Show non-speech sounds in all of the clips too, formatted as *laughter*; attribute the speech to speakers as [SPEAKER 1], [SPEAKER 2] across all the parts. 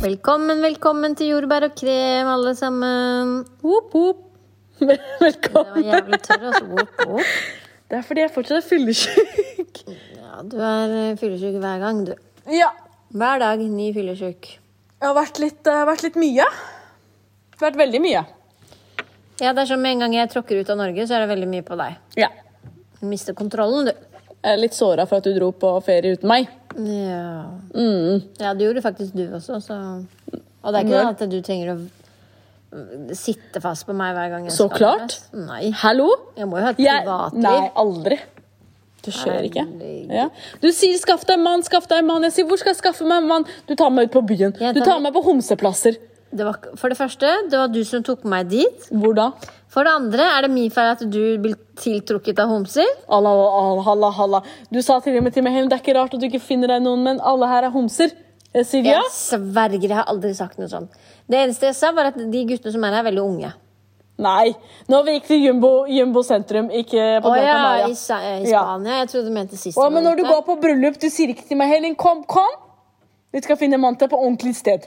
[SPEAKER 1] Velkommen, velkommen til jordbær og krem, alle sammen.
[SPEAKER 2] Whoop, whoop.
[SPEAKER 1] Det var
[SPEAKER 2] *laughs* Velkommen.
[SPEAKER 1] jævlig tørr, altså. Whoop, whoop.
[SPEAKER 2] Det er fordi jeg fortsatt er fyllesyk.
[SPEAKER 1] Ja, du er eh, fyllesyk hver gang, du.
[SPEAKER 2] Ja.
[SPEAKER 1] Hver dag ny fyllesyk.
[SPEAKER 2] Jeg har vært litt, eh, vært litt mye. Vært veldig mye.
[SPEAKER 1] Ja, det er som med en gang jeg tråkker ut av Norge, så er det veldig mye på deg.
[SPEAKER 2] Ja.
[SPEAKER 1] Du mister kontrollen, du.
[SPEAKER 2] Jeg er litt såra for at du dro på ferie uten meg.
[SPEAKER 1] Ja.
[SPEAKER 2] Mm.
[SPEAKER 1] ja, det gjorde faktisk du også, så Og det er ikke sånn at du trenger å eh, sitte fast på meg hver gang jeg
[SPEAKER 2] Så klart.
[SPEAKER 1] ass. Nei.
[SPEAKER 2] Hallo?
[SPEAKER 1] Jeg må jo ha et
[SPEAKER 2] Jeg-
[SPEAKER 1] privatliv.
[SPEAKER 2] Nei, aldri. Du skjønner ikke.
[SPEAKER 1] Herregud.
[SPEAKER 2] Ja. Du sier 'skaff deg en mann', 'skaff deg en mann'. Jeg sier 'hvor skal jeg skaffe meg en mann'? Du tar meg ut på byen.
[SPEAKER 1] Jeg
[SPEAKER 2] Du
[SPEAKER 1] tar-
[SPEAKER 2] tar meg på homseplasser.
[SPEAKER 1] Det var, ikke- for det første, det var du som tok meg dit.
[SPEAKER 2] Hvor da?
[SPEAKER 1] For det andre, er det min feil at du blir tiltrukket av homser?
[SPEAKER 2] Allah, Allah, Allah, Allah. Du sa til og med til meg «Helen, det er ikke rart at du ikke finner deg noen, men alle her er homser. Jeg sier ja.
[SPEAKER 1] Jeg sverger, jeg har aldri sagt noe sånt. Det eneste jeg sa, var at de guttene som er her, er veldig unge.
[SPEAKER 2] Nei. Nå vi gikk til Jumbo, Jumbo sentrum, ikke på
[SPEAKER 1] Å
[SPEAKER 2] Gran
[SPEAKER 1] ja,
[SPEAKER 2] Canaria.
[SPEAKER 1] i, Sa- i
[SPEAKER 2] Ja.
[SPEAKER 1] Spania. Jeg trodde du mente sist.
[SPEAKER 2] Å,
[SPEAKER 1] vi
[SPEAKER 2] men
[SPEAKER 1] var
[SPEAKER 2] når du
[SPEAKER 1] ute.
[SPEAKER 2] går på bryllup, du sier ikke til meg Helen, kom, kom! Vi skal finne en mann til på ordentlig sted.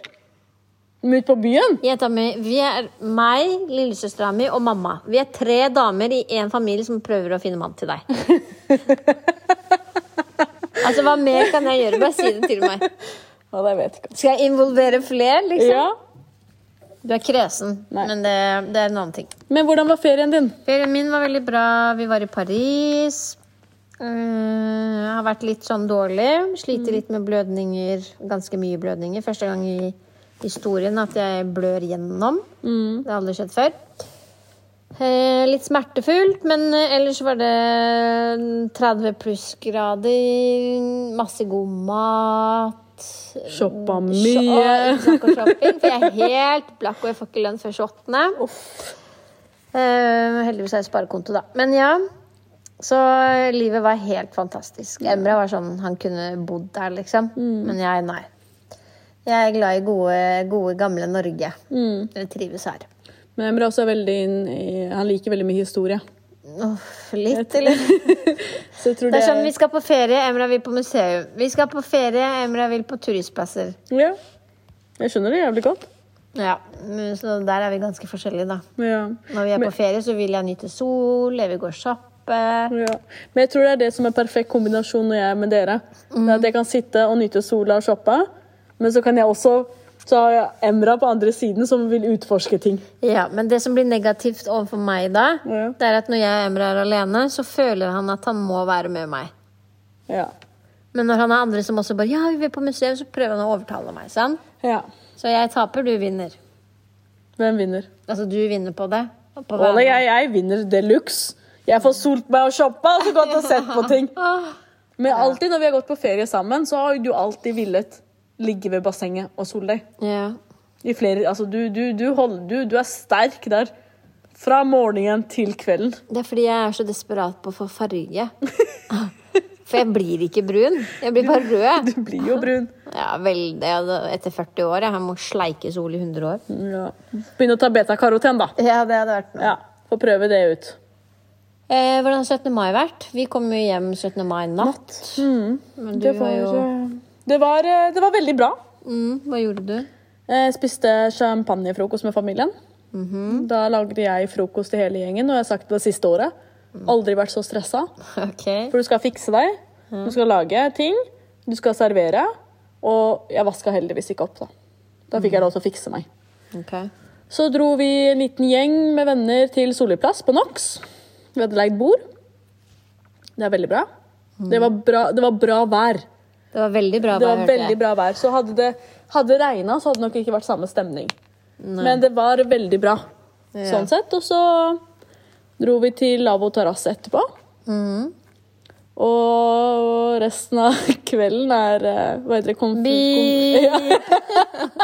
[SPEAKER 2] Men ut på byen?
[SPEAKER 1] Jenta mi, vi er meg, lillesøstera mi og mamma. Vi er tre damer i én familie som prøver å finne mann
[SPEAKER 2] *laughs*
[SPEAKER 1] til deg. altså, hva mer kan jeg gjøre? Bare si det til meg.
[SPEAKER 2] Ja, det vet jeg ikke.
[SPEAKER 1] Skal jeg involvere flere, liksom?
[SPEAKER 2] Ja.
[SPEAKER 1] Du er kresen,
[SPEAKER 2] Nei.
[SPEAKER 1] men det, det er en annen ting.
[SPEAKER 2] Men hvordan var ferien din?
[SPEAKER 1] Ferien min var veldig bra. Vi var i Paris. Eh, har vært litt sånn dårlig. Sliter litt med blødninger. Ganske mye blødninger. Første gang i historien at jeg blør gjennom. Det har aldri skjedd før. Eh, litt smertefullt, men eh, ellers var det 30 plussgrader. Masse god mat.
[SPEAKER 2] Shoppa
[SPEAKER 1] Sho-
[SPEAKER 2] mye.
[SPEAKER 1] Å, *laughs* ikke snakk om shopping, for jeg er helt blakk, og jeg får ikke lønn før 28. Eh, heldigvis har jeg sparekonto, da. Men ja. Så livet var helt fantastisk. Emre var sånn han kunne bodd der, liksom. Men jeg, nei. Jeg er glad i gode, gode gamle Norge. Jeg trives her.
[SPEAKER 2] Men Emre er også veldig inn i Han liker veldig mye historie. *laughs*
[SPEAKER 1] Uff, litt, eller?
[SPEAKER 2] Så jeg tror
[SPEAKER 1] Det
[SPEAKER 2] det
[SPEAKER 1] er sånn, Vi skal på ferie, Emre vil på museum. Vi skal på ferie, Emre vil på turistplasser.
[SPEAKER 2] Ja. Jeg skjønner det jævlig godt.
[SPEAKER 1] Ja, Mm, Så der er vi ganske forskjellige, da.
[SPEAKER 2] Ja.
[SPEAKER 1] Når vi er på ferie, så vil jeg nyte sol, jeg vil gå og shoppe.
[SPEAKER 2] Ja. Men jeg tror det er det som er perfekt kombinasjon når jeg er med dere. Det er at jeg kan sitte og nyte sola og shoppe, men så kan jeg også Så har jeg Emra på andre siden som vil utforske ting.
[SPEAKER 1] Ja, Men det som blir negativt overfor meg da,
[SPEAKER 2] Ja.
[SPEAKER 1] det er at når jeg og Emre er alene, så føler han at han må være med meg.
[SPEAKER 2] Ja.
[SPEAKER 1] Men når han er andre som også bare Ja, vi vil på museum, så prøver han å overtale meg. sant?
[SPEAKER 2] ja.
[SPEAKER 1] Så jeg taper, du vinner.
[SPEAKER 2] Hvem vinner?
[SPEAKER 1] Altså, du vinner på det. og På
[SPEAKER 2] Ole,
[SPEAKER 1] verden.
[SPEAKER 2] jeg, jeg vinner de luxe. Jeg får solt meg og shoppa og så gått og sett på ting. Men alltid når vi har gått på ferie sammen, så har jo du alltid villet ligge ved bassenget og sole deg.
[SPEAKER 1] Ja.
[SPEAKER 2] I flere, altså du, du, du, holder, du, du er sterk der. Fra morgenen til kvelden.
[SPEAKER 1] Det er fordi jeg er så desperat på å få *laughs* farge. For jeg blir ikke brun. Jeg blir bare rød.
[SPEAKER 2] Du blir jo brun.
[SPEAKER 1] Ja, veldig. Etter 40 år. Jeg må sleike sol i 100 år.
[SPEAKER 2] Ja. Begynne å ta betakaroten, da.
[SPEAKER 1] Ja, det hadde vært noe.
[SPEAKER 2] Ja, Få prøve det ut.
[SPEAKER 1] Eh, hvordan har 17. mai vært? Vi kom jo hjem 17. mai natt. Men du
[SPEAKER 2] Det var,
[SPEAKER 1] var jo
[SPEAKER 2] det var, eh, det var veldig bra.
[SPEAKER 1] mm, Hva gjorde du?
[SPEAKER 2] Jeg spiste champagnefrokost med familien.
[SPEAKER 1] Mhm.
[SPEAKER 2] Da lagde jeg frokost til hele gjengen, og jeg har sagt det siste året. Aldri vært så stressa.
[SPEAKER 1] *laughs* Ok.
[SPEAKER 2] For du skal fikse deg, du skal lage ting, du skal servere. Og jeg vaska heldigvis ikke opp, da. Da fikk jeg lov til å fikse meg.
[SPEAKER 1] Ok.
[SPEAKER 2] Så dro vi en liten gjeng med venner til Solli plass på NOX. Vi hadde leid bord. Det er veldig bra. Det var bra, det var bra vær.
[SPEAKER 1] Det var veldig bra.
[SPEAKER 2] Det
[SPEAKER 1] hva
[SPEAKER 2] var
[SPEAKER 1] hørte
[SPEAKER 2] veldig
[SPEAKER 1] jeg.
[SPEAKER 2] bra vær. Så hadde det hadde regna, så hadde det nok ikke vært samme stemning. Men det var veldig bra
[SPEAKER 1] Ja.
[SPEAKER 2] sånn sett. Og så dro vi til lavvo terrasse etterpå.
[SPEAKER 1] Mhm.
[SPEAKER 2] Og resten av *laughs* kvelden er eh, Hva heter det? Konf
[SPEAKER 1] Beep.
[SPEAKER 2] konf- *laughs* Ja.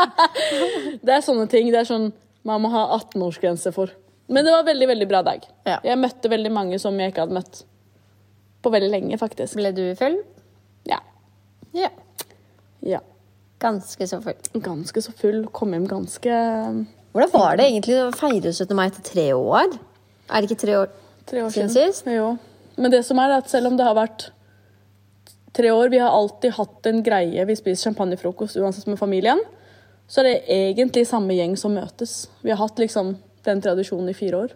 [SPEAKER 2] det er sånne ting. Det er sånn man må ha 18-årsgrense for. Men det var veldig veldig bra dag.
[SPEAKER 1] Ja.
[SPEAKER 2] Jeg møtte veldig mange som jeg ikke hadde møtt på veldig lenge, faktisk.
[SPEAKER 1] Ble du full?
[SPEAKER 2] Ja.
[SPEAKER 1] Ja.
[SPEAKER 2] ja.
[SPEAKER 1] Ganske så full.
[SPEAKER 2] Ganske så full. Kom hjem ganske um,
[SPEAKER 1] Hvordan var det egentlig å feire 17. mai etter tre år? Er det ikke tre år?
[SPEAKER 2] Tre år
[SPEAKER 1] Siden
[SPEAKER 2] siden.
[SPEAKER 1] sist?
[SPEAKER 2] Jo. Men det som er, er at selv om det har vært tre år Vi har alltid hatt en greie. Vi spiser champagnefrokost uansett med familien. så er det egentlig samme gjeng som møtes. Vi har hatt liksom den tradisjonen i fire år.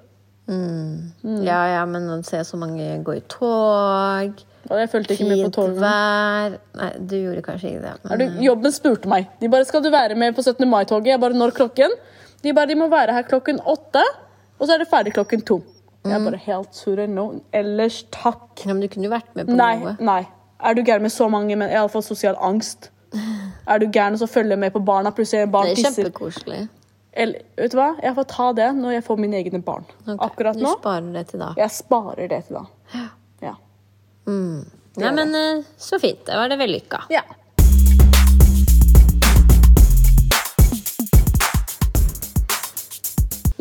[SPEAKER 1] Ja, ja, men å se så mange gå i tog
[SPEAKER 2] Og jeg fulgte ikke med på
[SPEAKER 1] Fint
[SPEAKER 2] togene.
[SPEAKER 1] vær Nei, du gjorde kanskje ikke det. Men...
[SPEAKER 2] Er du, jobben spurte meg. De bare 'Skal du være med på 17. mai-toget?' Jeg bare 'Når klokken?' De bare 'De må være her klokken åtte, og så er det ferdig klokken to'. Jeg bare helt surre no. Ellers takk.
[SPEAKER 1] Ja, men du kunne jo vært med på
[SPEAKER 2] Nei,
[SPEAKER 1] noe.
[SPEAKER 2] nei. Er du gæren med så mange men Jeg har fått sosial angst. Er du gæren og så følger med på barna? Plutselig barn
[SPEAKER 1] Det er
[SPEAKER 2] tisser.
[SPEAKER 1] kjempekoselig.
[SPEAKER 2] Eller, vet du hva? Jeg får ta det når jeg får mine egne barn.
[SPEAKER 1] Ok,
[SPEAKER 2] Akkurat nå.
[SPEAKER 1] Du sparer det til da.
[SPEAKER 2] Jeg sparer det til da. Ja.
[SPEAKER 1] Nei, men eh, så fint. Da var det vellykka.
[SPEAKER 2] ja.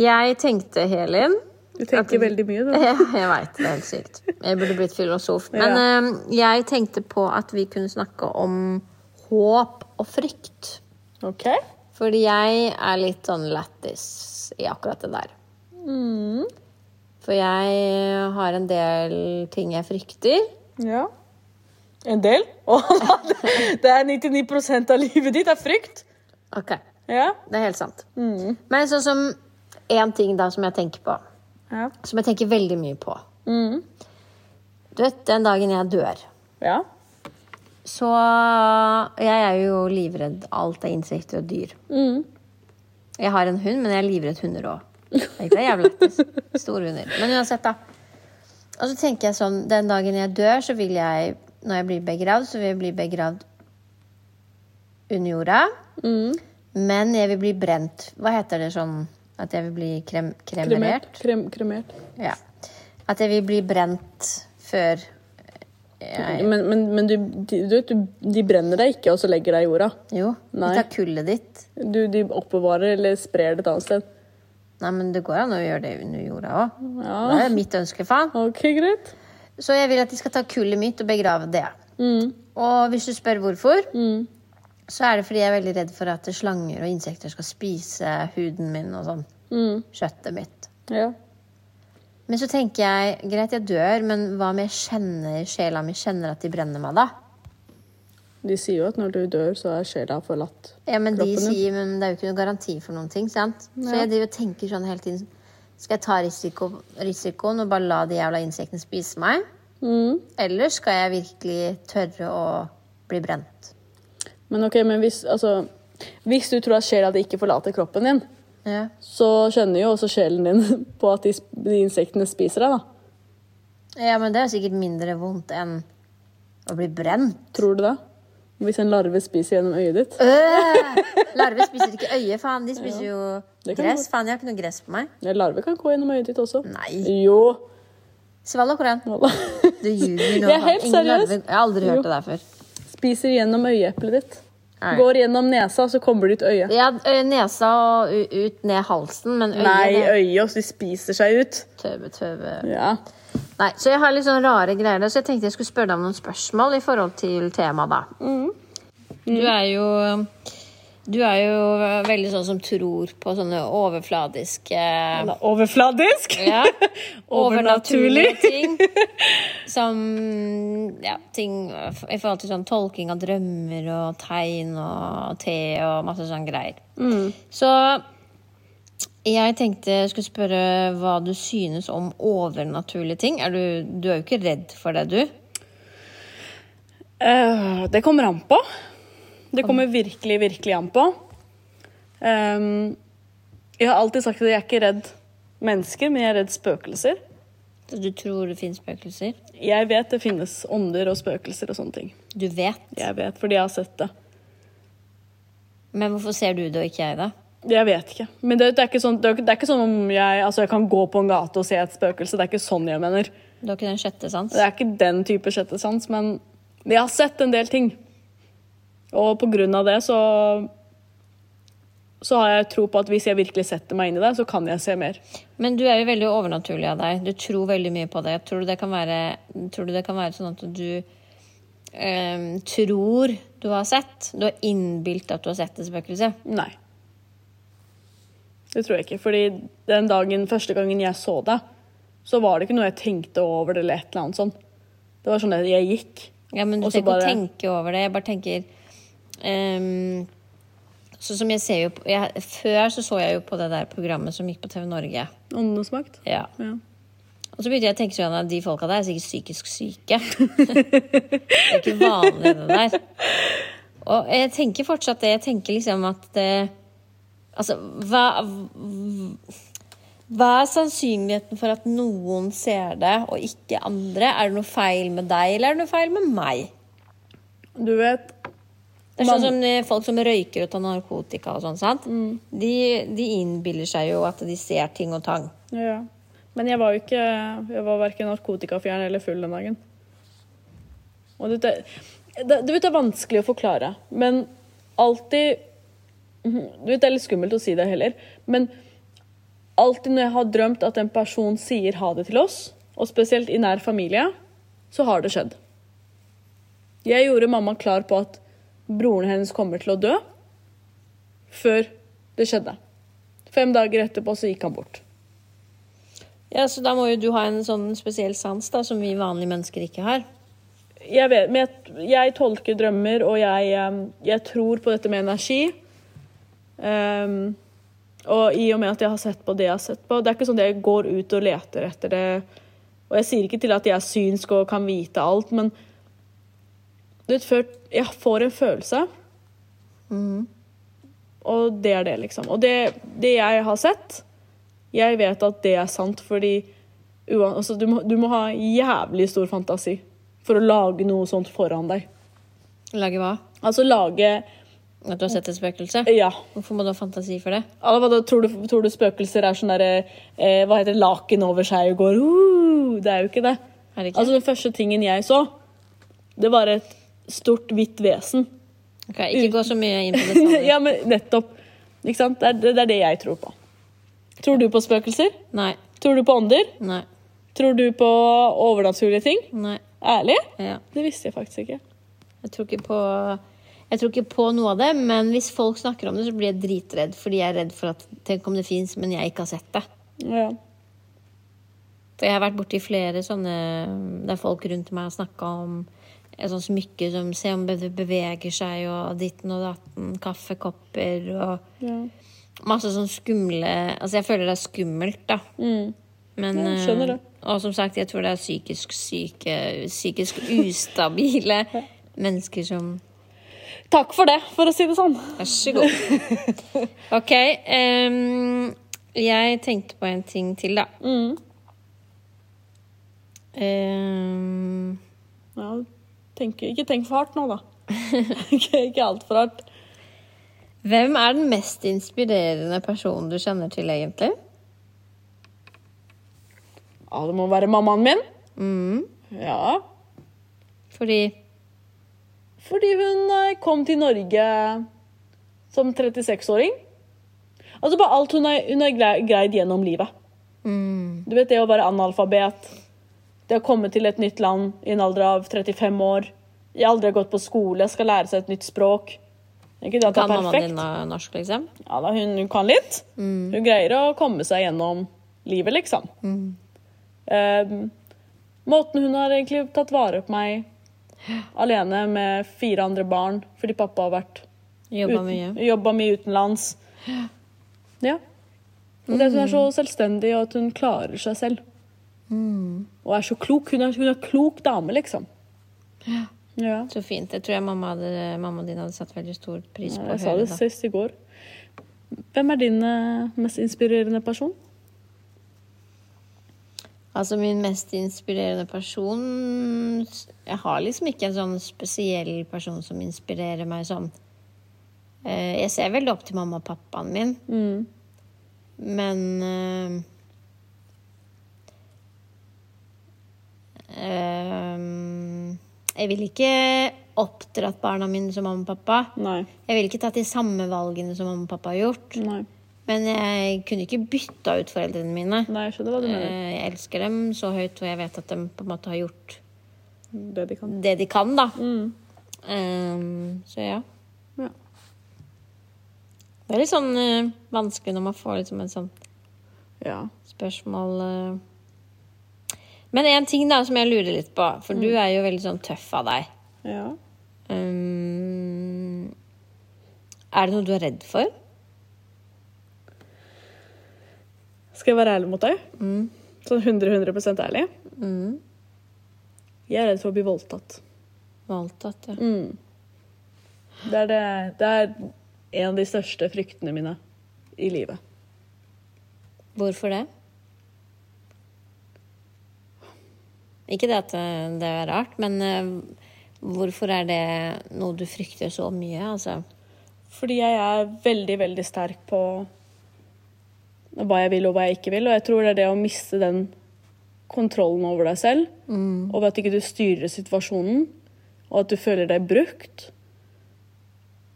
[SPEAKER 1] Jeg tenkte, Helin *laughs*
[SPEAKER 2] Du tenker veldig mye, du.
[SPEAKER 1] Ja, Jeg veit, det er helt sykt. Jeg burde blitt filosof. Men eh, jeg tenkte på at vi kunne snakke om håp og frykt.
[SPEAKER 2] OK.
[SPEAKER 1] Fordi jeg er litt sånn lættis i akkurat det der. Mm. For jeg eh, har en del ting jeg frykter.
[SPEAKER 2] Ja. En del. *laughs* Å, det er 99 av livet ditt er frykt.
[SPEAKER 1] Ok,
[SPEAKER 2] Ja.
[SPEAKER 1] Det er helt sant. Men sånn som én ting da som jeg tenker på,
[SPEAKER 2] Ja.
[SPEAKER 1] som jeg tenker veldig mye på Du vet, den dagen jeg dør,
[SPEAKER 2] Mm. ja.
[SPEAKER 1] så Jeg er jo livredd alt av insekter og dyr.
[SPEAKER 2] Mm.
[SPEAKER 1] Jeg har en hund, men jeg er livredd hunder òg. Det er jævlig lættis. Store hunder. Men uansett, da. Og så tenker jeg sånn, den dagen jeg dør, så vil jeg, når jeg blir begravd, så vil jeg bli begravd under jorda.
[SPEAKER 2] Mm.
[SPEAKER 1] Men jeg vil bli brent. Hva heter det sånn at jeg vil bli krem kremerert?
[SPEAKER 2] Kremert. Krem, kremert.
[SPEAKER 1] Ja. At jeg vil bli brent før jeg
[SPEAKER 2] Men, men, men du, de, du vet, du, de brenner deg ikke, og så legger deg i jorda.
[SPEAKER 1] Jo,
[SPEAKER 2] Nei.
[SPEAKER 1] de tar kullet ditt.
[SPEAKER 2] Du, de oppbevarer eller sprer det et annet sted.
[SPEAKER 1] Nei, men det går an å gjøre det under jorda òg.
[SPEAKER 2] Ja.
[SPEAKER 1] Det er mitt ønske, faen.
[SPEAKER 2] OK, greit.
[SPEAKER 1] Så jeg vil at de skal ta kullet mitt og begrave det.
[SPEAKER 2] Mm.
[SPEAKER 1] Og hvis du spør hvorfor,
[SPEAKER 2] Mm.
[SPEAKER 1] så er det fordi jeg er veldig redd for at slanger og insekter skal spise huden min og sånn.
[SPEAKER 2] Mm.
[SPEAKER 1] Kjøttet mitt.
[SPEAKER 2] Ja.
[SPEAKER 1] Men så tenker jeg, greit, jeg dør, men hva om jeg kjenner sjela mi kjenner at de brenner meg, da?
[SPEAKER 2] De sier jo at når du dør, så er sjela forlatt.
[SPEAKER 1] Ja, men de
[SPEAKER 2] Kroppen din.
[SPEAKER 1] sier, men det er jo ikke noen garanti for noen ting, sant? Så jeg driver og tenker sånn hele tiden. Skal jeg ta risiko, risikoen og bare la de jævla insektene spise meg?
[SPEAKER 2] Mm.
[SPEAKER 1] Eller skal jeg virkelig tørre å bli brent?
[SPEAKER 2] Men ok, men hvis, altså, hvis du tror at sjela di ikke forlater kroppen din,
[SPEAKER 1] Ja.
[SPEAKER 2] så skjønner jo også sjelen din *laughs* på at de, sp- de insektene spiser deg, da.
[SPEAKER 1] ja, men det er sikkert mindre vondt enn å bli brent.
[SPEAKER 2] Tror du det? Hvis en larve spiser gjennom øyet ditt?
[SPEAKER 1] Øh! Larver spiser ikke øye, faen. De spiser jo
[SPEAKER 2] Det kan
[SPEAKER 1] gress. Faen, jeg har ikke noe gress på meg.
[SPEAKER 2] Ja, larve kan gå gjennom øyet ditt også.
[SPEAKER 1] Nei.
[SPEAKER 2] Jo.
[SPEAKER 1] Svalg akkurat. *laughs* Du ljuger nå.
[SPEAKER 2] *laughs* Jeg er
[SPEAKER 1] faen.
[SPEAKER 2] helt
[SPEAKER 1] Ingen
[SPEAKER 2] seriøs.
[SPEAKER 1] larver- Jeg har aldri
[SPEAKER 2] Jo.
[SPEAKER 1] hørt det der før.
[SPEAKER 2] Spiser gjennom øyeeplet ditt.
[SPEAKER 1] Nei.
[SPEAKER 2] Går gjennom nesa, så kommer det ut øyet.
[SPEAKER 1] Ja, ø, øh, nesa og u- ut ned halsen, men øyet det-
[SPEAKER 2] Nei, øyet, og de spiser seg ut.
[SPEAKER 1] Tøve, tøve.
[SPEAKER 2] Ja.
[SPEAKER 1] Nei, så jeg har litt sånn rare greier der, så jeg tenkte jeg skulle spørre deg om noen spørsmål i forhold til temaet, da. Du er jo Du er jo veldig sånn som tror på sånne overfladiske
[SPEAKER 2] Overfladisk.
[SPEAKER 1] ja,
[SPEAKER 2] *laughs* Overnaturlig.
[SPEAKER 1] Overnaturlige ting. Som Ja, ting i forhold til sånn tolking av drømmer og tegn og te og masse sånne greier. Så jeg tenkte jeg skulle spørre hva du synes om overnaturlige ting. Er du, du er jo ikke redd for det, du?
[SPEAKER 2] Eh, det kommer an på. Det kommer virkelig, virkelig an på. Ehm, jeg har alltid sagt at jeg er ikke redd mennesker, men jeg er redd spøkelser.
[SPEAKER 1] Så Du tror det finnes spøkelser?
[SPEAKER 2] Jeg vet det finnes ånder og spøkelser og sånne ting.
[SPEAKER 1] Du vet.
[SPEAKER 2] Jeg vet, fordi jeg har sett det.
[SPEAKER 1] Men hvorfor ser du det og ikke jeg, da?
[SPEAKER 2] Jeg vet ikke. Men det, det, er, ikke sånn, det, er, ikke- det er ikke sånn om jeg, altså jeg kan gå på en gate og se et spøkelse. Det er ikke sånn jeg mener.
[SPEAKER 1] Du har ikke den sjette sans?
[SPEAKER 2] Det er ikke den type sjette sans, men jeg har sett en del ting. Og på grunn av det så så har jeg tro på at hvis jeg virkelig setter meg inn i det, så kan jeg se mer.
[SPEAKER 1] Men du er jo veldig overnaturlig av deg. Du tror veldig mye på det. Tror du det kan være, tror du det kan være sånn at du eh, tror du har sett? Du har innbilt at du har sett et spøkelse?
[SPEAKER 2] Nei. Det tror jeg ikke. Fordi den dagen, første gangen jeg så det, så var det ikke noe jeg tenkte over det eller et eller annet sånn. Det var sånn at jeg gikk.
[SPEAKER 1] Ja, men du
[SPEAKER 2] Og så
[SPEAKER 1] trenger ikke å
[SPEAKER 2] bare-
[SPEAKER 1] tenke over det. Jeg bare tenker ehm, Sånn som jeg ser jo på, jeg, Før så så jeg jo på det der programmet som gikk på TV Norge.
[SPEAKER 2] Åndenes makt?
[SPEAKER 1] Ja.
[SPEAKER 2] Ja.
[SPEAKER 1] Og så begynte jeg å tenke sånn at de folka der er sikkert psykisk syke. *laughs* det er ikke vanlig, det der. Og jeg tenker fortsatt det. Jeg tenker liksom at det Altså, hva Hva er sannsynligheten for at noen ser det, og ikke andre? Er det noe feil med deg, eller er det noe feil med meg?
[SPEAKER 2] Du vet
[SPEAKER 1] Det er sånn
[SPEAKER 2] Man-
[SPEAKER 1] som eh, folk som røyker ut av narkotika og sånn, sant? De, de innbiller seg jo at de ser ting og tang.
[SPEAKER 2] Ja. Men jeg var jo ikke Jeg var verken narkotikafjern eller full den dagen. Og du, det, det, du vet, det er vanskelig å forklare, men alltid Mhm, Du vet, det er litt skummelt å si det heller, men alltid når jeg har drømt at en person sier ha det til oss, og spesielt i nær familie, så har det skjedd. Jeg gjorde mamma klar på at broren hennes kommer til å dø, før det skjedde. Fem dager etterpå så gikk han bort.
[SPEAKER 1] Ja, så da må jo du ha en sånn spesiell sans da, som vi vanlige mennesker ikke har.
[SPEAKER 2] jeg vet, men jeg, jeg tolker drømmer, og jeg, em, jeg tror på dette med energi. Em, og i og med at jeg har sett på det jeg har sett på Det er ikke sånn at jeg går ut og leter etter det. Og jeg sier ikke til at jeg er synsk og kan vite alt, men du vet, før jeg får en følelse. Og det er det, liksom. Og det, det jeg har sett, jeg vet at det er sant, fordi uan, altså, du, må, du må ha jævlig stor fantasi for å lage noe sånt foran deg.
[SPEAKER 1] Lage hva?
[SPEAKER 2] Altså lage
[SPEAKER 1] At du har sett et spøkelse?
[SPEAKER 2] Ja.
[SPEAKER 1] Hvorfor må du ha fantasi for det?
[SPEAKER 2] Alle, hva da, tror, du, tror du spøkelser er sånn derre eh, Hva heter det? Laken over seg og går uh, Det er jo ikke det.
[SPEAKER 1] Er det ikke?
[SPEAKER 2] Altså Den første tingen jeg så, det var et stort, hvitt vesen. *laughs*
[SPEAKER 1] Ok, ikke gå så mye inn på det.
[SPEAKER 2] ja, men nettopp. Ikke sant? Det er, det, det er det jeg tror på. Tror du på spøkelser?
[SPEAKER 1] Nei,
[SPEAKER 2] Tror du på ånder?
[SPEAKER 1] nei,
[SPEAKER 2] Tror du på overnaturlige ting?
[SPEAKER 1] nei.
[SPEAKER 2] Ærlig?
[SPEAKER 1] Ja.
[SPEAKER 2] Det visste jeg faktisk ikke.
[SPEAKER 1] Jeg tror ikke på jeg tror ikke på noe av det, men hvis folk snakker om det, så blir jeg dritredd. Fordi jeg er redd for at Tenk om det fins, men jeg ikke har sett det.
[SPEAKER 2] Ja.
[SPEAKER 1] For jeg har vært borti flere sånne der folk rundt meg har snakka om et sånt smykke som Se om det beveger seg, og ditten og datten. Kaffekopper og
[SPEAKER 2] ja.
[SPEAKER 1] Masse sånn skumle Altså, jeg føler det er skummelt, da. Men
[SPEAKER 2] Mm. Ja, jeg skjønner det.
[SPEAKER 1] eh, Og som sagt, jeg tror det er psykisk syke Psykisk ustabile
[SPEAKER 2] *laughs*
[SPEAKER 1] mennesker som
[SPEAKER 2] Takk for det, for å si det sånn.
[SPEAKER 1] Vær så god.
[SPEAKER 2] *laughs*
[SPEAKER 1] OK. ehm, jeg tenkte på en ting til, da.
[SPEAKER 2] Mm.
[SPEAKER 1] Ehm,
[SPEAKER 2] Ja, tenk, ikke tenk for hardt nå, da. *laughs* ikke ikke altfor hardt.
[SPEAKER 1] hvem er den mest inspirerende personen du kjenner til, egentlig?
[SPEAKER 2] Ja, det må være mammaen min.
[SPEAKER 1] Mm,
[SPEAKER 2] Ja.
[SPEAKER 1] fordi
[SPEAKER 2] Fordi hun eh, kom til Norge som 36-åring. Altså bare alt hun har, hun har grei- greid gjennom livet.
[SPEAKER 1] mm,
[SPEAKER 2] Du vet det å være analfabet, det å komme til et nytt land i en alder av 35 år, jeg aldri har gått på skole, skal lære seg et nytt språk. Ikke det at det
[SPEAKER 1] Kan
[SPEAKER 2] er
[SPEAKER 1] mammaen din
[SPEAKER 2] perfekt.
[SPEAKER 1] na- norsk, liksom?
[SPEAKER 2] Ja da, hun, hun kan litt.
[SPEAKER 1] Mm.
[SPEAKER 2] Hun greier å komme seg gjennom livet, liksom.
[SPEAKER 1] Mm.
[SPEAKER 2] Ehm, måten hun har egentlig tatt vare på meg alene med fire andre barn, fordi pappa har vært
[SPEAKER 1] Jobba mye.
[SPEAKER 2] jobba mye utenlands. Ja. Og det at hun er
[SPEAKER 1] Mm.
[SPEAKER 2] så selvstendig, og at hun klarer seg selv.
[SPEAKER 1] Mm.
[SPEAKER 2] Og er så klok. Hun er, hun er klok dame, liksom. Ja.
[SPEAKER 1] Så fint. Det tror jeg mamma, hadde, mammaen din hadde satt veldig stor pris på. å
[SPEAKER 2] Jeg sa
[SPEAKER 1] høre,
[SPEAKER 2] det
[SPEAKER 1] da.
[SPEAKER 2] sist i går. Hvem er din eh, mest inspirerende person?
[SPEAKER 1] Altså min mest inspirerende person Jeg har liksom ikke en sånn spesiell person som inspirerer meg sånn. Eh, Jeg ser veldig opp til mamma og pappaen min,
[SPEAKER 2] Mm.
[SPEAKER 1] men eh, eh, Jeg vil ikke oppdratt barna mine som mamma og pappa.
[SPEAKER 2] Nei.
[SPEAKER 1] Jeg vil ikke tatt de samme valgene som mamma og pappa har gjort.
[SPEAKER 2] Nei.
[SPEAKER 1] Men jeg kunne ikke bytta ut foreldrene mine.
[SPEAKER 2] Nei, jeg skjønner hva du mener.
[SPEAKER 1] Eh, Jeg elsker dem så høyt, og jeg vet at de på en måte har gjort
[SPEAKER 2] Det de kan.
[SPEAKER 1] det de kan, da. Eh, så ja.
[SPEAKER 2] Ja.
[SPEAKER 1] Det er litt sånn eh, vanskelig når man får liksom en sånn
[SPEAKER 2] ja.
[SPEAKER 1] spørsmål eh. Men én ting da som jeg lurer litt på, for
[SPEAKER 2] Mm.
[SPEAKER 1] du er jo veldig sånn tøff av deg.
[SPEAKER 2] Ja.
[SPEAKER 1] Um, Er det noe du er redd for?
[SPEAKER 2] Skal jeg være ærlig mot deg? Sånn 100-100 ærlig? Mm. Jeg er redd for å bli voldtatt.
[SPEAKER 1] Voldtatt, ja.
[SPEAKER 2] Det er, det, det er en av de største fryktene mine i livet.
[SPEAKER 1] Hvorfor det? Ikke det at eh, det er rart, men eh, hvorfor er det noe du frykter så mye? Altså,
[SPEAKER 2] Fordi jeg er veldig, veldig sterk på hva jeg vil og hva jeg ikke vil. Og jeg tror det er det å miste den kontrollen over deg selv, over at ikke du styrer situasjonen, og at du føler deg brukt.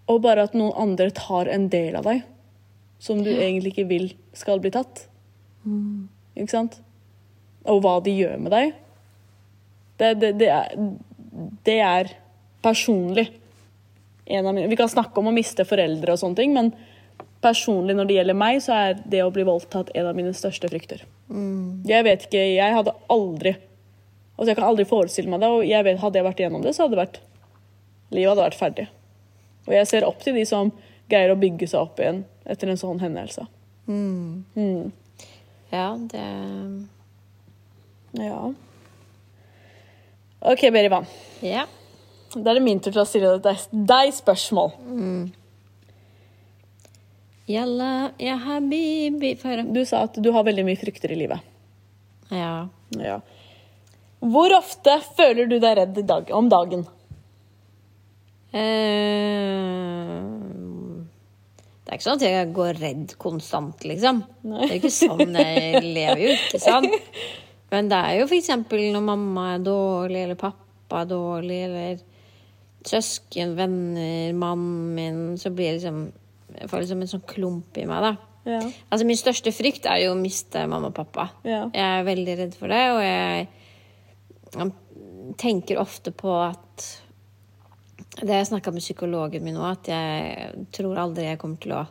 [SPEAKER 2] Og bare at noen andre tar en del av deg som du egentlig ikke vil skal bli tatt. Ikke sant? Og hva de gjør med deg. Det, det, det, er, det er personlig en av mine Vi kan snakke om å miste foreldre og sånne ting, men personlig når det gjelder meg, så er det å bli voldtatt en av mine største frykter. Jeg vet ikke Jeg hadde aldri Altså, jeg kan aldri forestille meg det, og jeg vet, hadde jeg vært igjennom det, så hadde det vært Livet hadde vært ferdig. Og jeg ser opp til de som greier å bygge seg opp igjen etter en sånn hendelse.
[SPEAKER 1] ja, det
[SPEAKER 2] Ja. OK, Berivan.
[SPEAKER 1] Ja.
[SPEAKER 2] Da er det min tur til å stille deg, deg spørsmål.
[SPEAKER 1] Jalla, ja, habibi Få høre.
[SPEAKER 2] Du sa at du har veldig mye frykter i livet.
[SPEAKER 1] Ja.
[SPEAKER 2] Ja. Hvor ofte føler du deg redd i dag, om dagen?
[SPEAKER 1] Eh, Det er ikke sånn at jeg går redd konstant, liksom. Det er ikke sånn jeg lever jo, ikke sant? Men det er jo for eksempel når mamma er dårlig, eller pappa er dårlig, eller søsken, venner, mannen min, så blir det liksom Jeg får liksom en sånn klump i meg, da.
[SPEAKER 2] Ja.
[SPEAKER 1] Altså, min største frykt er jo å miste mamma og pappa.
[SPEAKER 2] Ja.
[SPEAKER 1] Jeg er veldig redd for det, og jeg, jeg tenker ofte på at det har jeg snakka med psykologen min òg, at jeg tror aldri jeg kommer til å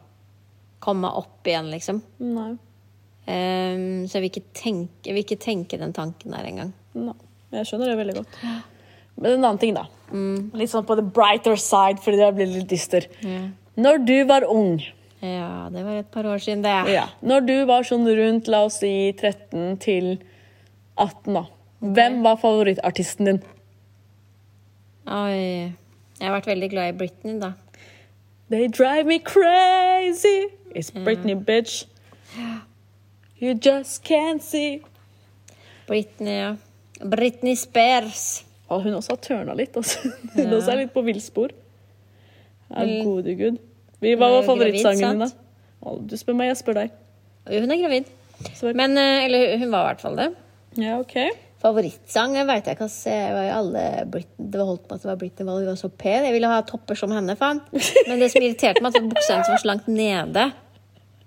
[SPEAKER 1] komme meg opp igjen, liksom.
[SPEAKER 2] Nei.
[SPEAKER 1] Ehm, så jeg vil, ikke tenke, jeg vil ikke tenke den tanken der engang.
[SPEAKER 2] Nei. Jeg skjønner det veldig godt. Men en annen ting, da. Litt sånn på the brighter side, fordi det blir litt dyster.
[SPEAKER 1] Ja.
[SPEAKER 2] Når du var ung,
[SPEAKER 1] ja, det var et par år siden, det.
[SPEAKER 2] ja. når du var sånn rundt, la oss si 13 til 18, da. Hvem var favorittartisten din?
[SPEAKER 1] Oi. Jeg har vært veldig glad i Britney, da.
[SPEAKER 2] They drive me crazy. It's Britney, bitch. You just can't see.
[SPEAKER 1] Britney, ja. Britney Spears.
[SPEAKER 2] Ja, hun også har tørna litt. Altså. *laughs* Hun også er litt på villspor. Ja, gode gud. Vi,
[SPEAKER 1] Hun er
[SPEAKER 2] hva var
[SPEAKER 1] jo
[SPEAKER 2] favorittsangen
[SPEAKER 1] gravid,
[SPEAKER 2] din,
[SPEAKER 1] sant?
[SPEAKER 2] da? Å, du spør meg, jeg spør deg.
[SPEAKER 1] Jo, hun er gravid.
[SPEAKER 2] Svar.
[SPEAKER 1] Men, eh, eller hun var i hvert fall det.
[SPEAKER 2] Ja, OK.
[SPEAKER 1] Favorittsang jeg vet jeg ikke. ass. Jeg var jo alle Britney, det var holdt på at det var Britney Wall, hun var så pen. Jeg ville ha topper som henne, faen. Men det som irriterte meg, at buksa hennes var så langt nede.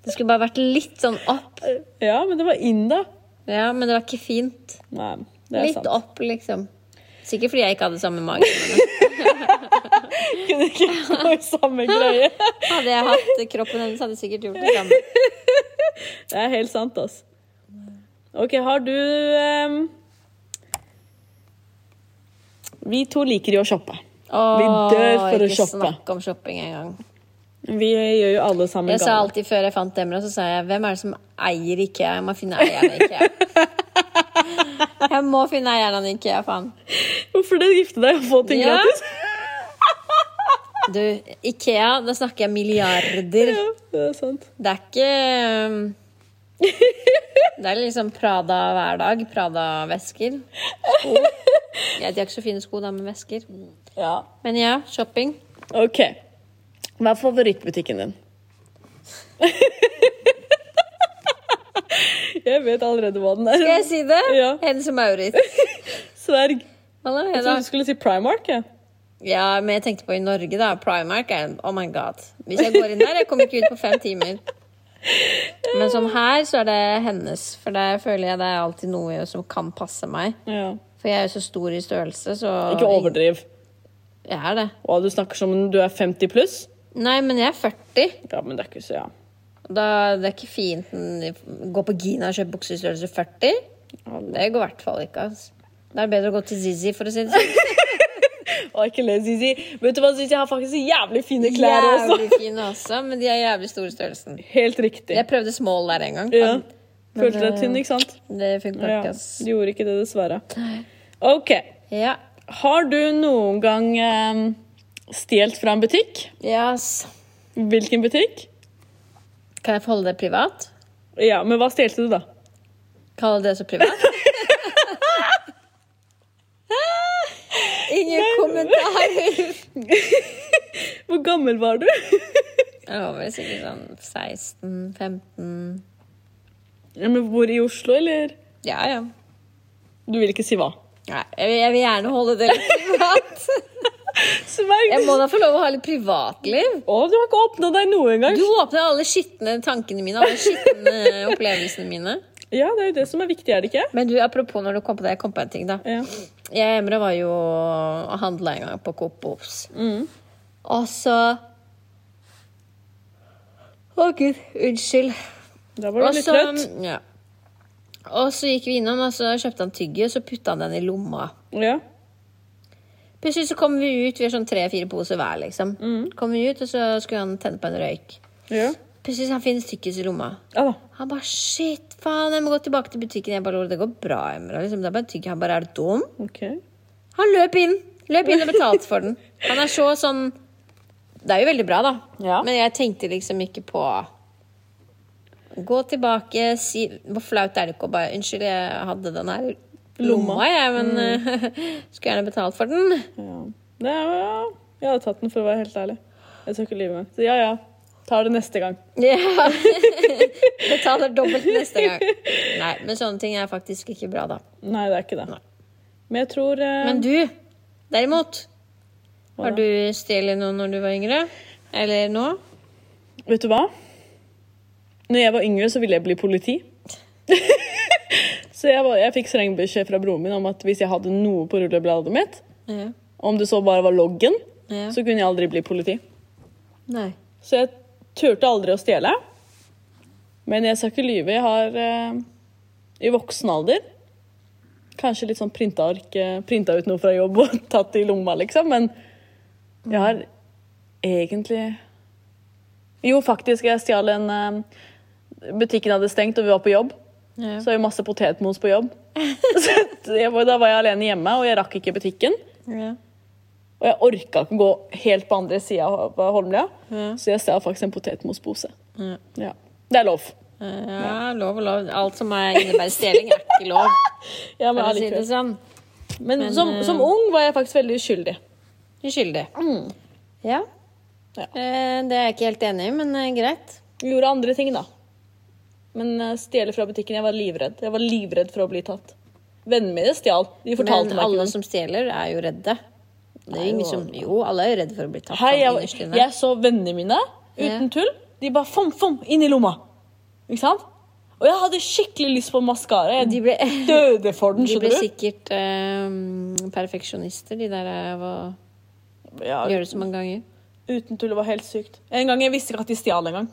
[SPEAKER 1] Det skulle bare vært litt sånn opp.
[SPEAKER 2] Ja, men det var inn, da.
[SPEAKER 1] Ja, men det var ikke fint.
[SPEAKER 2] Nei, det er
[SPEAKER 1] Litt
[SPEAKER 2] *laughs* sant.
[SPEAKER 1] opp, liksom. Sikkert fordi jeg ikke hadde samme mage.
[SPEAKER 2] Kunne ikke gå i samme greie.
[SPEAKER 1] *laughs* Hadde jeg hatt kroppen hennes, hadde jeg sikkert gjort det samme.
[SPEAKER 2] Det er helt sant, altså. OK, har du ehm, Vi to liker jo å shoppe.
[SPEAKER 1] Åh,
[SPEAKER 2] Vi dør for å
[SPEAKER 1] Ikke
[SPEAKER 2] shoppe.
[SPEAKER 1] snakk om shopping engang.
[SPEAKER 2] Vi gjør jo alle sammen
[SPEAKER 1] Jeg sa
[SPEAKER 2] gaver.
[SPEAKER 1] alltid før jeg fant Demra, så sa jeg hvem er det som eier IKEA? Jeg må finne eieren av IKEA. Jeg må finne eieren av IKEA, faen.
[SPEAKER 2] Hvorfor det gifte deg og få ting
[SPEAKER 1] Ja.
[SPEAKER 2] gratis? *laughs*
[SPEAKER 1] Du, Ikea, da snakker jeg milliarder.
[SPEAKER 2] Ja, det er
[SPEAKER 1] *laughs*
[SPEAKER 2] sant.
[SPEAKER 1] Det er ikke um, Det er liksom Prada hver dag. Prada-vesker. Sko. Ja, de har ikke så fine sko, da, med vesker.
[SPEAKER 2] Ja.
[SPEAKER 1] Men ja, shopping.
[SPEAKER 2] OK. Hva er favorittbutikken din? *laughs* jeg vet allerede hva den er.
[SPEAKER 1] Skal jeg si det?
[SPEAKER 2] Ja.
[SPEAKER 1] Hennes og Maurits.
[SPEAKER 2] Sverg.
[SPEAKER 1] Hva da,
[SPEAKER 2] Jeg
[SPEAKER 1] da?
[SPEAKER 2] trodde du skulle si Primark. Ja.
[SPEAKER 1] Ja, men jeg tenkte på i Norge, da. Primark er Oh my god. Hvis jeg går inn der, jeg kommer ikke ut på fem timer. Men sånn her, så er det hennes. For der føler jeg det er alltid noe som kan passe meg.
[SPEAKER 2] ja.
[SPEAKER 1] For jeg er jo så stor i størrelse, så
[SPEAKER 2] Ikke overdriv.
[SPEAKER 1] Jeg er det.
[SPEAKER 2] Og du snakker som om du er 50 pluss.
[SPEAKER 1] Nei, men jeg er 40.
[SPEAKER 2] Ja, men det er ikke så ja.
[SPEAKER 1] Da, det er ikke fint å gå på Gina og kjøpe bukser i størrelse
[SPEAKER 2] *laughs*
[SPEAKER 1] 40. Det går i hvert fall ikke. Altså. Det er bedre å gå til Zizi, for å si det sånn.
[SPEAKER 2] Å, ikke le, Sisi. Vet du hva, Sisi har faktisk jævlig fine klær også.
[SPEAKER 1] Jævlig fine også, men de er jævlig store i størrelsen.
[SPEAKER 2] Helt riktig.
[SPEAKER 1] Jeg prøvde small der en gang.
[SPEAKER 2] Ja.
[SPEAKER 1] Men,
[SPEAKER 2] Følte deg
[SPEAKER 1] eh,
[SPEAKER 2] tynn, ikke sant?
[SPEAKER 1] Det funka
[SPEAKER 2] Ja,
[SPEAKER 1] ikke, ass.
[SPEAKER 2] du gjorde ikke det, dessverre. OK.
[SPEAKER 1] Ja.
[SPEAKER 2] Har du noen gang um, stjålet fra en butikk?
[SPEAKER 1] Yes.
[SPEAKER 2] Hvilken butikk?
[SPEAKER 1] Kan jeg få holde det privat?
[SPEAKER 2] Ja, men hva stjelte du, da?
[SPEAKER 1] Kalle det så privat? Ingen kommentarer.
[SPEAKER 2] Hvor gammel var du? *laughs*
[SPEAKER 1] Jeg var vel sikkert sånn 16-15
[SPEAKER 2] Ja, men Hvor i Oslo, eller?
[SPEAKER 1] Ja, ja.
[SPEAKER 2] Du vil ikke si hva.
[SPEAKER 1] Nei, jeg, vil, jeg vil gjerne holde det litt privat.
[SPEAKER 2] Sverg!
[SPEAKER 1] Jeg må da få lov å ha litt privatliv.
[SPEAKER 2] Å, du har ikke åpna deg noe engang.
[SPEAKER 1] Du åpner alle skitne tankene mine, alle skitne eh, opplevelsene mine.
[SPEAKER 2] Ja, det er jo det som er viktig, er det ikke?
[SPEAKER 1] Men du, apropos når du kom på det, jeg kom på en ting, da.
[SPEAKER 2] Ja.
[SPEAKER 1] Jeg og Emre var jo og handla en gang på Coop Ops.
[SPEAKER 2] Mm.
[SPEAKER 1] Og så Å, gud. Unnskyld.
[SPEAKER 2] Da var
[SPEAKER 1] Og
[SPEAKER 2] du litt
[SPEAKER 1] så-
[SPEAKER 2] trøtt.
[SPEAKER 1] Ja. Og så gikk vi innom, og så kjøpte han tygge, og så putta han den i lomma.
[SPEAKER 2] Ja.
[SPEAKER 1] Plutselig så kom vi ut, vi har sånn tre-fire poser hver, liksom.
[SPEAKER 2] Mm.
[SPEAKER 1] Kom vi ut, og så skulle han tenne på en røyk.
[SPEAKER 2] Ja.
[SPEAKER 1] Plutselig så han finner tyggis i lomma.
[SPEAKER 2] ja da.
[SPEAKER 1] Han bare shit, faen, jeg må gå tilbake til butikken. Jeg bare Lore, det går bra, Emra. Liksom. Det er bare en tygg. Han bare er du dum?
[SPEAKER 2] OK.
[SPEAKER 1] Han løp inn. Løp inn og betalte for den. Han er så sånn Det er jo veldig bra, da.
[SPEAKER 2] Ja.
[SPEAKER 1] Men jeg tenkte liksom ikke på Gå tilbake, si Hvor flaut er det ikke å bare Unnskyld, jeg hadde den her i
[SPEAKER 2] Lomma.
[SPEAKER 1] lomma, Mm. jeg, men *laughs* skulle gjerne betalt for den.
[SPEAKER 2] Ja. Det er, ja. Jeg hadde tatt den, for å være helt ærlig. Jeg tør ikke lyve. meg. Så ja, ja. Tar det neste gang.
[SPEAKER 1] Ja. *laughs* Betaler dobbelt neste gang. Nei, men sånne ting er faktisk ikke bra, da.
[SPEAKER 2] Nei, det er ikke det. Men jeg tror eh,
[SPEAKER 1] Men du, derimot
[SPEAKER 2] Hva
[SPEAKER 1] Har
[SPEAKER 2] da?
[SPEAKER 1] du stjålet noe når du var yngre? Eller nå?
[SPEAKER 2] Vet du hva? Når jeg var yngre, så ville jeg bli politi. *laughs* så jeg, var, jeg fikk streng beskjed fra broren min om at hvis jeg hadde noe på rullebladet mitt,
[SPEAKER 1] Ja.
[SPEAKER 2] om det så bare var loggen,
[SPEAKER 1] Ja.
[SPEAKER 2] så kunne jeg aldri bli politi.
[SPEAKER 1] Nei.
[SPEAKER 2] Så jeg turte aldri å stjele. Men jeg skal ikke lyve. Jeg har eh, i voksen alder kanskje litt sånn printa ark, eh, printa ut noe fra jobb og *laughs* tatt det i lomma, liksom. Men jeg har egentlig Jo, faktisk, jeg stjal en eh, Butikken hadde stengt, og vi var på jobb.
[SPEAKER 1] Ja.
[SPEAKER 2] Så har vi masse potetmos på jobb. *laughs* Så jeg, var- da var jeg alene hjemme, og jeg rakk ikke butikken.
[SPEAKER 1] Ja.
[SPEAKER 2] Og jeg orka ikke gå helt på andre sida av Holmlia,
[SPEAKER 1] Ja.
[SPEAKER 2] så jeg stjal faktisk en potetmospose.
[SPEAKER 1] Ja.
[SPEAKER 2] Ja. Det er lov.
[SPEAKER 1] Ja, lov og lov. Alt som er innebærer stjeling, er ikke *laughs* lov.
[SPEAKER 2] *laughs* Ja, men
[SPEAKER 1] For å si det
[SPEAKER 2] allikevel.
[SPEAKER 1] sånn. eh,
[SPEAKER 2] men som, som ung var jeg faktisk veldig uskyldig.
[SPEAKER 1] Uskyldig. Mm. Ja.
[SPEAKER 2] Ja.
[SPEAKER 1] Eh, Det er jeg ikke helt enig i, men eh, greit.
[SPEAKER 2] Gjorde andre ting, da. Men eh, stjele fra butikken Jeg var livredd Jeg var livredd for å bli tatt. Vennene mine stjal. De fortalte
[SPEAKER 1] Men
[SPEAKER 2] meg ikke
[SPEAKER 1] alle
[SPEAKER 2] noe.
[SPEAKER 1] som stjeler, er jo redde. Det er jo ingen som Jo, alle er jo redde for å bli tatt.
[SPEAKER 2] Hei,
[SPEAKER 1] sånn
[SPEAKER 2] jeg,
[SPEAKER 1] innerst inne.
[SPEAKER 2] jeg så vennene mine, uten tull. De bare fom, fom, inn i lomma. Ikke sant? Og jeg hadde skikkelig lyst på maskara. Jeg
[SPEAKER 1] De ble, *laughs*
[SPEAKER 2] døde for den,
[SPEAKER 1] de ble
[SPEAKER 2] skjønner du.
[SPEAKER 1] sikkert eh, perfeksjonister, de der av å
[SPEAKER 2] Ja,
[SPEAKER 1] gjøre det så mange ganger.
[SPEAKER 2] Uten tull, det var helt sykt. En gang jeg visste ikke at de stjal en gang.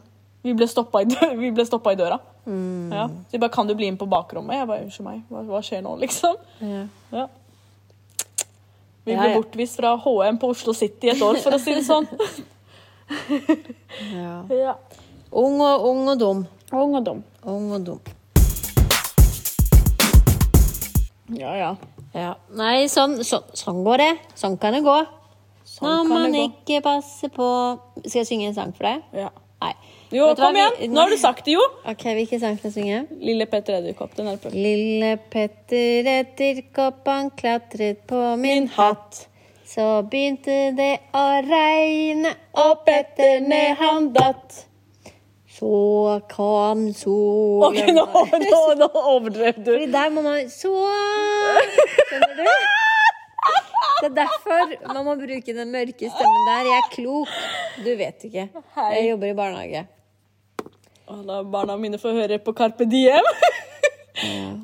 [SPEAKER 2] Vi ble stoppa i, dø *laughs* vi ble stoppet i døra. Ja. Så de bare 'Kan du bli inn på bakrommet?' Jeg bare 'Unnskyld meg, hva, hva skjer nå?' *laughs* liksom.
[SPEAKER 1] Ja.
[SPEAKER 2] Ja. Vi
[SPEAKER 1] Ja,
[SPEAKER 2] ble
[SPEAKER 1] ja.
[SPEAKER 2] bortvist fra HM på Oslo City et år, for å si det sånn.
[SPEAKER 1] Ja.
[SPEAKER 2] *laughs* ja.
[SPEAKER 1] Ung og ung og dum.
[SPEAKER 2] Ung og dum.
[SPEAKER 1] Ung og dum.
[SPEAKER 2] Ja, ja.
[SPEAKER 1] Ja. Nei, sånn, sånn, sånn går det. Sånn kan det gå. Når
[SPEAKER 2] Sånn kan
[SPEAKER 1] man
[SPEAKER 2] det gå.
[SPEAKER 1] ikke passer på Skal jeg synge en sang for deg?
[SPEAKER 2] ja.
[SPEAKER 1] Nei.
[SPEAKER 2] Jo,
[SPEAKER 1] Vet du hva,
[SPEAKER 2] kom igjen!
[SPEAKER 1] vi-
[SPEAKER 2] Nå har du sagt det, jo!
[SPEAKER 1] Ok, Hvilken sang skal jeg synge?
[SPEAKER 2] Lille Petter Edderkopp. Den er på.
[SPEAKER 1] Lille Petter edderkopp, han klatret på min hatt. Så begynte det å regne, og Petter ned han datt. Så kom solen
[SPEAKER 2] OK, nå, nå, nå overdrev du.
[SPEAKER 1] Fordi der må man Så Skjønner du? Det er derfor man må bruke den mørke stemmen der. Jeg er klok. Du vet ikke. Jeg jobber i barnehage.
[SPEAKER 2] Å, La barna mine få høre på Carpe Diem.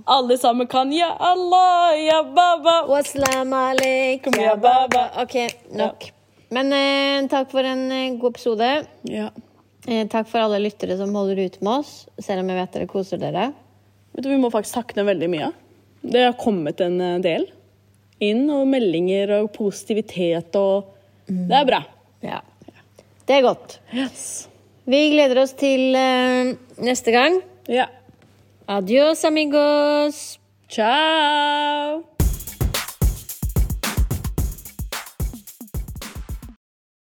[SPEAKER 2] Alle sammen kan ja Allah, ja baba.
[SPEAKER 1] Waslam alaikum,
[SPEAKER 2] Kom, ja, baba.
[SPEAKER 1] Ok, nok. Men eh, takk for en eh, god episode.
[SPEAKER 2] Ja.
[SPEAKER 1] Eh, takk for alle lyttere som holder ut med oss, selv om jeg vet dere koser dere.
[SPEAKER 2] Vet du, Vi må faktisk takke dem veldig mye. Det har kommet en eh, del. inn, og meldinger og positivitet og Det er bra.
[SPEAKER 1] Ja. Det er godt.
[SPEAKER 2] Yes.
[SPEAKER 1] Vi gleder oss til eh, neste gang.
[SPEAKER 2] Ja.
[SPEAKER 1] Adios, amigos.
[SPEAKER 2] Ciao!